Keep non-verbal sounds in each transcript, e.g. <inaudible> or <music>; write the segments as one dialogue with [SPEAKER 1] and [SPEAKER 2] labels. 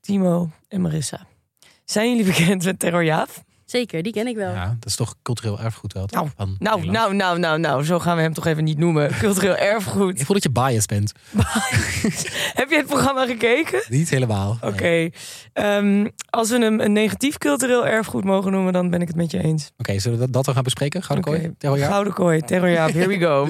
[SPEAKER 1] Timo en Marissa. Zijn jullie bekend met Terrorjaaf?
[SPEAKER 2] Zeker, die ken ik wel.
[SPEAKER 3] Ja, dat is toch cultureel erfgoed wel, toch?
[SPEAKER 1] Nou,
[SPEAKER 3] Van
[SPEAKER 1] Nou,
[SPEAKER 3] Nederland.
[SPEAKER 1] nou, nou, nou, nou. Zo gaan we hem toch even niet noemen. Cultureel
[SPEAKER 3] <laughs>
[SPEAKER 1] erfgoed.
[SPEAKER 3] Ik voel dat je biased bent.
[SPEAKER 1] Heb je het programma gekeken?
[SPEAKER 3] Niet helemaal.
[SPEAKER 1] Oké. Ehm, als we hem een negatief cultureel erfgoed mogen noemen, dan ben ik het met je eens.
[SPEAKER 3] Oké, zullen we dat, dat dan gaan bespreken? Gouden
[SPEAKER 1] Oké.
[SPEAKER 3] kooi? Terrorjaar?
[SPEAKER 1] Gouden kooi, terrorjaap, here we
[SPEAKER 3] <laughs>
[SPEAKER 1] go.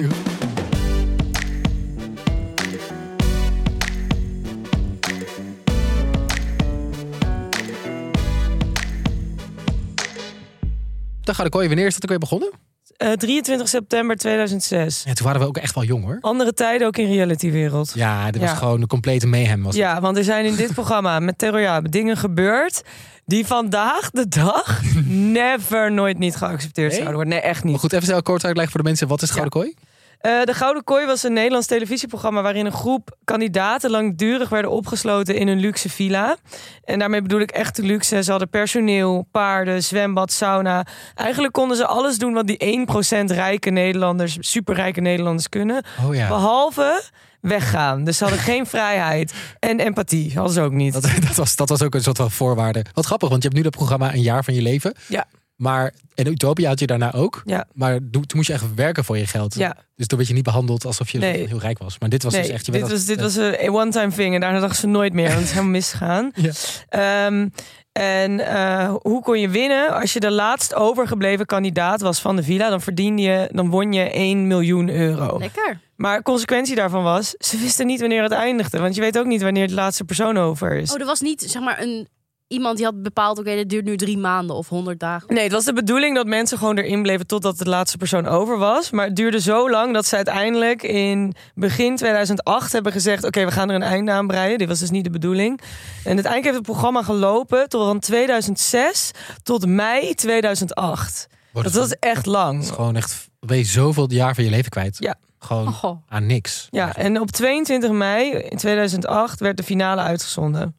[SPEAKER 3] De Gouden kooi, wanneer is dat ook weer begonnen?
[SPEAKER 1] Eh, 23 september 2006.
[SPEAKER 3] Ja, toen waren we ook echt wel jong hoor.
[SPEAKER 1] Andere tijden ook in realitywereld. Ja.
[SPEAKER 3] Ja, dit was
[SPEAKER 1] Ja.
[SPEAKER 3] gewoon een complete mayhem. Was het.
[SPEAKER 1] want er zijn in dit programma met terrorjaap dingen gebeurd die vandaag de
[SPEAKER 3] <laughs>
[SPEAKER 1] dag never, nooit niet geaccepteerd
[SPEAKER 3] Nee?
[SPEAKER 1] zouden worden. Nee, echt niet.
[SPEAKER 3] Maar goed, even snel kort uitleggen voor de mensen. Wat is de Gouden kooi?
[SPEAKER 1] Eh, de Gouden Kooi was een Nederlands televisieprogramma waarin een groep kandidaten langdurig werden opgesloten in een luxe villa. En daarmee bedoel ik echt de luxe. Ze hadden personeel, paarden, zwembad, sauna. Eigenlijk konden ze alles doen wat die 1% rijke Nederlanders, superrijke Nederlanders kunnen.
[SPEAKER 3] Oh ja.
[SPEAKER 1] Behalve weggaan. Dus ze hadden geen
[SPEAKER 3] <laughs>
[SPEAKER 1] vrijheid. En empathie hadden ze ook niet.
[SPEAKER 3] Dat, <laughs> dat, was, dat was ook een soort van voorwaarde. Wat grappig, want je hebt nu dat programma een jaar van je leven.
[SPEAKER 1] Ja.
[SPEAKER 3] Maar, en Utopia had je daarna ook.
[SPEAKER 1] Ja.
[SPEAKER 3] Maar do- toen moest je echt werken voor je geld.
[SPEAKER 1] Ja.
[SPEAKER 3] Dus toen werd je niet behandeld alsof je
[SPEAKER 1] Nee.
[SPEAKER 3] heel rijk was. Maar dit was
[SPEAKER 1] nee,
[SPEAKER 3] dus echt... Je
[SPEAKER 1] dit,
[SPEAKER 3] werd
[SPEAKER 1] was,
[SPEAKER 3] als-
[SPEAKER 1] dit was een one-time thing. En daarna dachten ze nooit meer. Want het is helemaal misgegaan.
[SPEAKER 3] Ja.
[SPEAKER 1] Ehm, en eh, hoe kon je winnen? Als je de laatst overgebleven kandidaat was van de villa, dan verdiende je, dan won je 1 miljoen euro.
[SPEAKER 2] Lekker.
[SPEAKER 1] Maar consequentie daarvan was, ze wisten niet wanneer het eindigde. Want je weet ook niet wanneer de laatste persoon over is.
[SPEAKER 2] Oh, er was niet zeg maar een iemand die had bepaald: oké, dit duurt nu drie maanden of honderd dagen.
[SPEAKER 1] Nee, het was de bedoeling dat mensen gewoon erin bleven totdat de laatste persoon over was. Maar het duurde zo lang dat ze uiteindelijk in begin 2008 hebben gezegd: Oké, we gaan er een einde aan breien. Dit was dus niet de bedoeling. En uiteindelijk heeft het programma gelopen tot van 2006 tot mei 2008.
[SPEAKER 3] Wordt
[SPEAKER 1] Dat
[SPEAKER 3] het
[SPEAKER 1] was echt
[SPEAKER 3] Oh, is
[SPEAKER 1] lang.
[SPEAKER 3] gewoon echt... Ben je zoveel jaar van je leven kwijt.
[SPEAKER 1] Ja.
[SPEAKER 3] Gewoon
[SPEAKER 2] Oh.
[SPEAKER 3] aan niks.
[SPEAKER 1] Ja, en op 22 mei 2008 werd de finale uitgezonden.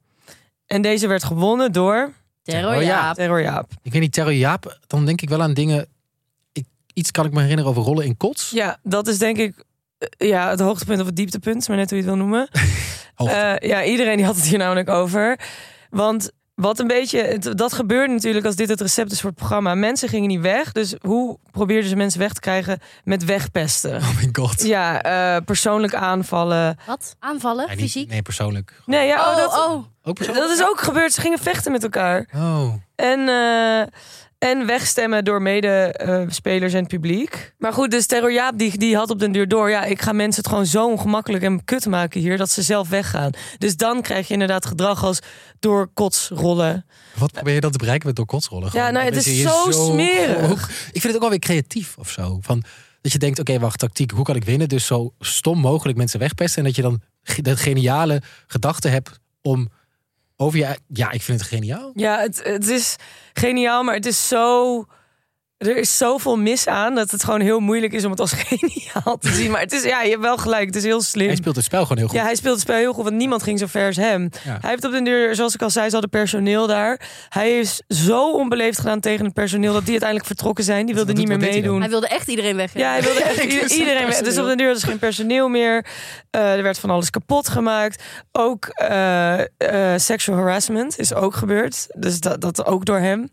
[SPEAKER 1] En deze werd gewonnen door
[SPEAKER 2] Terror,
[SPEAKER 3] Oh, ja.
[SPEAKER 2] ja.
[SPEAKER 1] Terror Jaap.
[SPEAKER 3] Ik weet niet, Terror Jaap, dan denk ik wel aan dingen... Ik, iets kan ik me herinneren over rollen in kots.
[SPEAKER 1] Ja, dat is denk ik eh, ja, het hoogtepunt of het dieptepunt, maar net hoe je het wil noemen.
[SPEAKER 3] Hoogte.
[SPEAKER 1] Eh, ja, iedereen die had het hier namelijk over. Want wat een beetje, het- dat gebeurde natuurlijk als dit het recept is voor het programma. Mensen gingen niet weg, dus hoe probeerden ze mensen weg te krijgen met wegpesten?
[SPEAKER 3] oh my god.
[SPEAKER 1] Ja, eh, persoonlijk aanvallen.
[SPEAKER 2] Wat? Aanvallen?
[SPEAKER 3] Nee, niet-
[SPEAKER 2] Fysiek?
[SPEAKER 3] Nee, persoonlijk.
[SPEAKER 1] Nee, ja, oh,
[SPEAKER 2] oh,
[SPEAKER 1] dat,
[SPEAKER 2] oh.
[SPEAKER 3] Ook persoonlijk?
[SPEAKER 1] dat is ook gebeurd. Ze gingen vechten met elkaar.
[SPEAKER 3] Oh.
[SPEAKER 1] En, eh, en wegstemmen door medespelers en het publiek. Maar goed, dus Terror Jaap die, die had op den duur door... ja, ik ga mensen het gewoon zo ongemakkelijk en kut maken hier... dat ze zelf weggaan. Dus dan krijg je inderdaad gedrag als door kots rollen.
[SPEAKER 3] Wat probeer je dan te bereiken met door kotsrollen?
[SPEAKER 1] Ja,
[SPEAKER 3] Gewoon,
[SPEAKER 1] nou, het
[SPEAKER 3] mensen
[SPEAKER 1] is
[SPEAKER 3] je
[SPEAKER 1] zo smerig.
[SPEAKER 3] ook- Ik vind het ook wel weer creatief of zo. Van, dat je denkt, oké, wacht, tactiek, hoe kan ik winnen? Dus zo stom mogelijk mensen wegpesten. En dat je dan ge- dat geniale gedachte hebt om over je... Ja, ik vind het geniaal.
[SPEAKER 1] Ja, het, het is geniaal, maar het is zo... Er is zoveel mis aan dat het gewoon heel moeilijk is om het als <laughs> geniaal te zien. Maar het is, ja, je hebt wel gelijk. Het is heel slim.
[SPEAKER 3] Hij speelt het spel gewoon heel goed.
[SPEAKER 1] Ja, hij speelde het spel heel goed, want niemand ging zo ver als hem.
[SPEAKER 3] Ja.
[SPEAKER 1] Hij heeft op de deur, zoals ik al zei, ze hadden personeel daar. Hij is zo onbeleefd gedaan tegen het personeel dat die uiteindelijk vertrokken zijn. Die wilden
[SPEAKER 3] wat
[SPEAKER 1] niet meer
[SPEAKER 3] doet- wat deed hij dan?
[SPEAKER 1] meedoen.
[SPEAKER 2] Hij wilde echt iedereen weg.
[SPEAKER 1] Ja, hij
[SPEAKER 2] <laughs>
[SPEAKER 1] wilde
[SPEAKER 3] <laughs>
[SPEAKER 1] echt ieder- iedereen. weg. Dus op de deur was geen personeel meer. Eh, er werd van alles kapot gemaakt. Ook eh, eh, sexual harassment is ook gebeurd. Dus dat, dat ook door hem.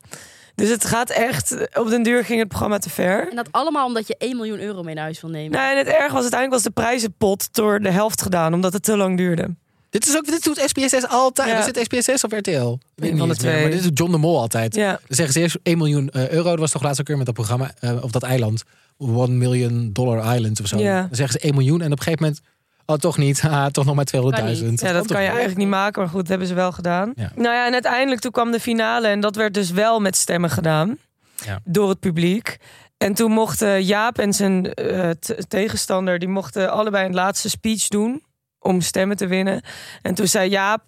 [SPEAKER 1] Dus het gaat echt, op den duur ging het programma te ver.
[SPEAKER 2] En dat allemaal omdat je 1 miljoen euro mee naar huis wil nemen.
[SPEAKER 1] Nou, en het erg was uiteindelijk was de prijzenpot door de helft gedaan, omdat het te lang duurde.
[SPEAKER 3] Dit, is ook, dit doet SPSS altijd.
[SPEAKER 1] Ja.
[SPEAKER 3] Is dit SPSS of RTL? Ik weet het
[SPEAKER 1] van
[SPEAKER 3] niet
[SPEAKER 1] de
[SPEAKER 3] eens meer,
[SPEAKER 1] twee.
[SPEAKER 3] Maar dit doet John de Mol altijd.
[SPEAKER 1] Ja.
[SPEAKER 3] Dan zeggen ze eerst 1 miljoen eh, euro. Dat was toch laatst ook weer met dat programma, eh, of dat eiland. One Million Dollar Island of zo.
[SPEAKER 1] Ja.
[SPEAKER 3] Dan zeggen ze 1 miljoen en op een gegeven moment... Oh, toch niet. <laughs> Haha, toch nog maar 200.000.
[SPEAKER 1] Ja, dat kan je
[SPEAKER 3] toch?
[SPEAKER 1] eigenlijk niet maken, maar goed, dat hebben ze wel gedaan.
[SPEAKER 3] Ja.
[SPEAKER 1] Nou ja, en uiteindelijk toen kwam de finale en dat werd dus wel met stemmen gedaan
[SPEAKER 3] Ja.
[SPEAKER 1] door het publiek. En toen mochten Jaap en zijn eh, t- tegenstander, die mochten allebei een laatste speech doen om stemmen te winnen. En toen zei Jaap,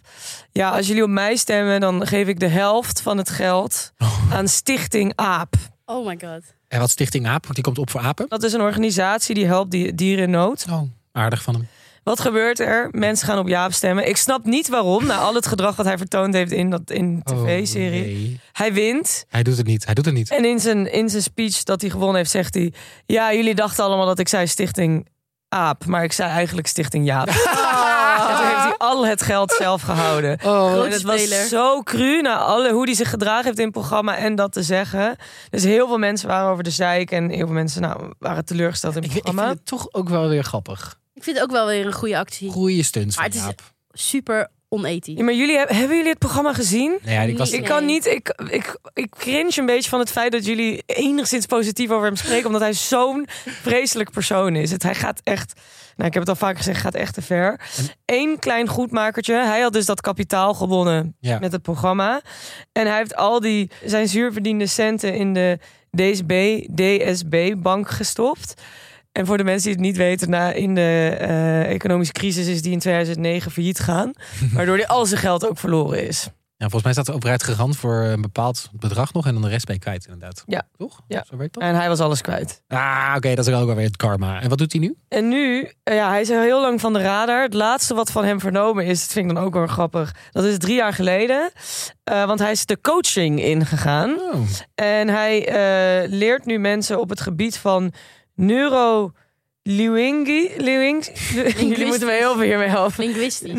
[SPEAKER 1] ja, als jullie op mij stemmen, dan geef ik de helft van het geld
[SPEAKER 3] Oh.
[SPEAKER 1] aan Stichting AAP.
[SPEAKER 2] Oh my god.
[SPEAKER 3] En wat Stichting Aap, die komt op voor apen.
[SPEAKER 1] Dat is een organisatie die helpt die- dieren in nood.
[SPEAKER 3] Oh, aardig van hem.
[SPEAKER 1] Wat gebeurt er? Mensen gaan op Jaap stemmen. Ik snap niet waarom, na al het gedrag wat hij vertoond heeft in, dat, in de tv-serie.
[SPEAKER 3] Oh, nee.
[SPEAKER 1] Hij wint.
[SPEAKER 3] Hij doet het niet. Hij doet het niet.
[SPEAKER 1] En in zijn, in zijn speech dat hij gewonnen heeft, zegt hij... Ja, jullie
[SPEAKER 3] <laughs>
[SPEAKER 1] dachten allemaal dat ik zei Stichting Aap. Maar ik zei eigenlijk Stichting Jaap. En toen heeft hij al het geld zelf gehouden.
[SPEAKER 3] Oh,
[SPEAKER 1] En het
[SPEAKER 2] speler.
[SPEAKER 1] was zo cru naar alle, hoe hij zich gedragen heeft in het programma en dat te zeggen. Dus heel veel mensen waren over de zeik en heel veel mensen nou, waren teleurgesteld in
[SPEAKER 3] ik,
[SPEAKER 1] het
[SPEAKER 3] ik vind
[SPEAKER 1] programma.
[SPEAKER 3] het toch ook wel weer grappig.
[SPEAKER 2] Ik vind het ook wel weer een goede actie.
[SPEAKER 3] Goeie stunts van
[SPEAKER 2] Maar het is-
[SPEAKER 3] Jaap.
[SPEAKER 2] Super onethisch.
[SPEAKER 1] Ja, maar jullie, heb- hebben jullie het programma gezien?
[SPEAKER 3] Nee, ja, ik was,
[SPEAKER 2] Nee.
[SPEAKER 1] Ik kan niet, ik, ik, ik cringe een beetje van het feit dat jullie enigszins positief over hem spreken, omdat hij zo'n vreselijk persoon is. Het, hij gaat echt, nou ik heb het al vaker gezegd, gaat echt te ver. Eén klein goedmakertje, hij had dus dat kapitaal gewonnen
[SPEAKER 3] Ja.
[SPEAKER 1] met het programma. En hij heeft al die, zijn zuurverdiende centen in de DSB, DSB bank gestopt. En voor de mensen die het niet weten, na, in de eh, economische crisis is die in 2009 failliet gaan. Waardoor hij al zijn geld ook verloren is.
[SPEAKER 3] Ja, volgens mij staat de overheid garant voor een bepaald bedrag nog en dan de rest ben je kwijt inderdaad.
[SPEAKER 1] Ja.
[SPEAKER 3] Toch?
[SPEAKER 1] Ja.
[SPEAKER 3] Zo werkt dat?
[SPEAKER 1] En hij was alles kwijt.
[SPEAKER 3] Ah, oké, dat is ook wel weer het karma. En wat doet hij nu?
[SPEAKER 1] En nu, eh, ja, hij is al heel lang van de radar. Het laatste wat van hem vernomen is, dat vind ik dan ook wel grappig. Dat is drie jaar geleden. eh, want hij is de coaching ingegaan.
[SPEAKER 3] Oh.
[SPEAKER 1] En hij eh, leert nu mensen op het gebied van neuro... Lewingi, Lewing, <laughs> jullie moeten me heel veel hiermee helpen.
[SPEAKER 2] Linguistisch.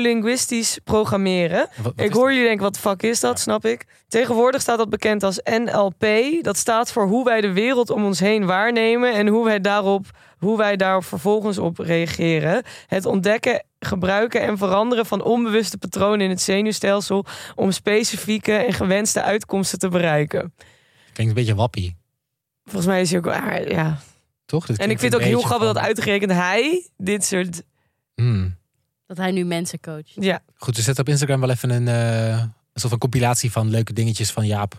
[SPEAKER 1] Neurolinguistisch programmeren.
[SPEAKER 3] Wat- wat
[SPEAKER 1] Ik
[SPEAKER 3] is
[SPEAKER 1] hoor jullie denken, wat de fuck is dat? Snap ik. Tegenwoordig staat dat bekend als NLP. Dat staat voor hoe wij de wereld om ons heen waarnemen en hoe wij daarop, hoe wij daar vervolgens op reageren. Het ontdekken, gebruiken en veranderen van onbewuste patronen in het zenuwstelsel om specifieke en gewenste uitkomsten te bereiken.
[SPEAKER 3] dat? Klinkt een beetje wappie,
[SPEAKER 1] Volgens mij is hij ook wel- ah, ja.
[SPEAKER 3] toch? Dit
[SPEAKER 1] En ik vind
[SPEAKER 3] klinkt
[SPEAKER 1] het
[SPEAKER 3] een
[SPEAKER 1] ook heel
[SPEAKER 3] beetje
[SPEAKER 1] grappig
[SPEAKER 3] van-
[SPEAKER 1] dat uitgerekend hij dit soort.
[SPEAKER 3] Hmm.
[SPEAKER 2] Dat hij nu mensen coacht.
[SPEAKER 1] Ja,
[SPEAKER 3] Goed, dus zet op Instagram wel even een, eh, een soort van compilatie van leuke dingetjes van Jaap.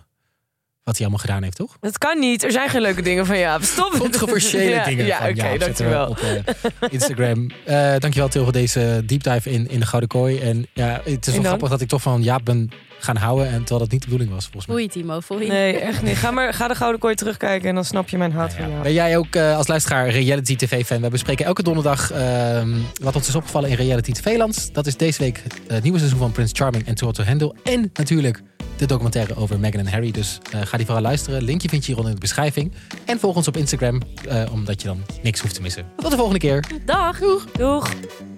[SPEAKER 3] Wat hij allemaal gedaan heeft,
[SPEAKER 1] <laughs>
[SPEAKER 3] toch?
[SPEAKER 1] dat kan niet. Er zijn geen leuke dingen van Jaap. Stop.
[SPEAKER 3] Controversiële
[SPEAKER 1] <laughs> Ja,
[SPEAKER 3] dingen
[SPEAKER 1] Ja,
[SPEAKER 3] van
[SPEAKER 1] oké,
[SPEAKER 3] Jaap zetten we
[SPEAKER 1] dankjewel.
[SPEAKER 3] op eh, Instagram.
[SPEAKER 1] <laughs>
[SPEAKER 3] Eh, dankjewel Til voor deze deep dive in, in de Gouden Kooi. En ja, het is wel
[SPEAKER 1] dank.
[SPEAKER 3] grappig dat ik toch van Jaap ben gaan houden. En terwijl dat niet de bedoeling was, volgens mij.
[SPEAKER 2] Foei Timo, foei.
[SPEAKER 1] Nee, echt niet. Ga, maar, ga de Gouden Kooi terugkijken en dan snap je mijn haat
[SPEAKER 3] Nou ja,
[SPEAKER 1] van jou.
[SPEAKER 3] Ben jij ook eh, als luisteraar reality tv-fan? We bespreken elke donderdag ehm, wat ons is opgevallen in reality tv-land. Dat is deze week het eh, nieuwe seizoen van Prince Charming en Tour to Handle. En natuurlijk de documentaire over Meghan en Harry. Dus eh, ga die vooral luisteren. Linkje vind je hieronder in de beschrijving. En volg ons op Instagram, eh, omdat je dan niks hoeft te missen. Tot de volgende keer.
[SPEAKER 2] Dag.
[SPEAKER 1] Doeg!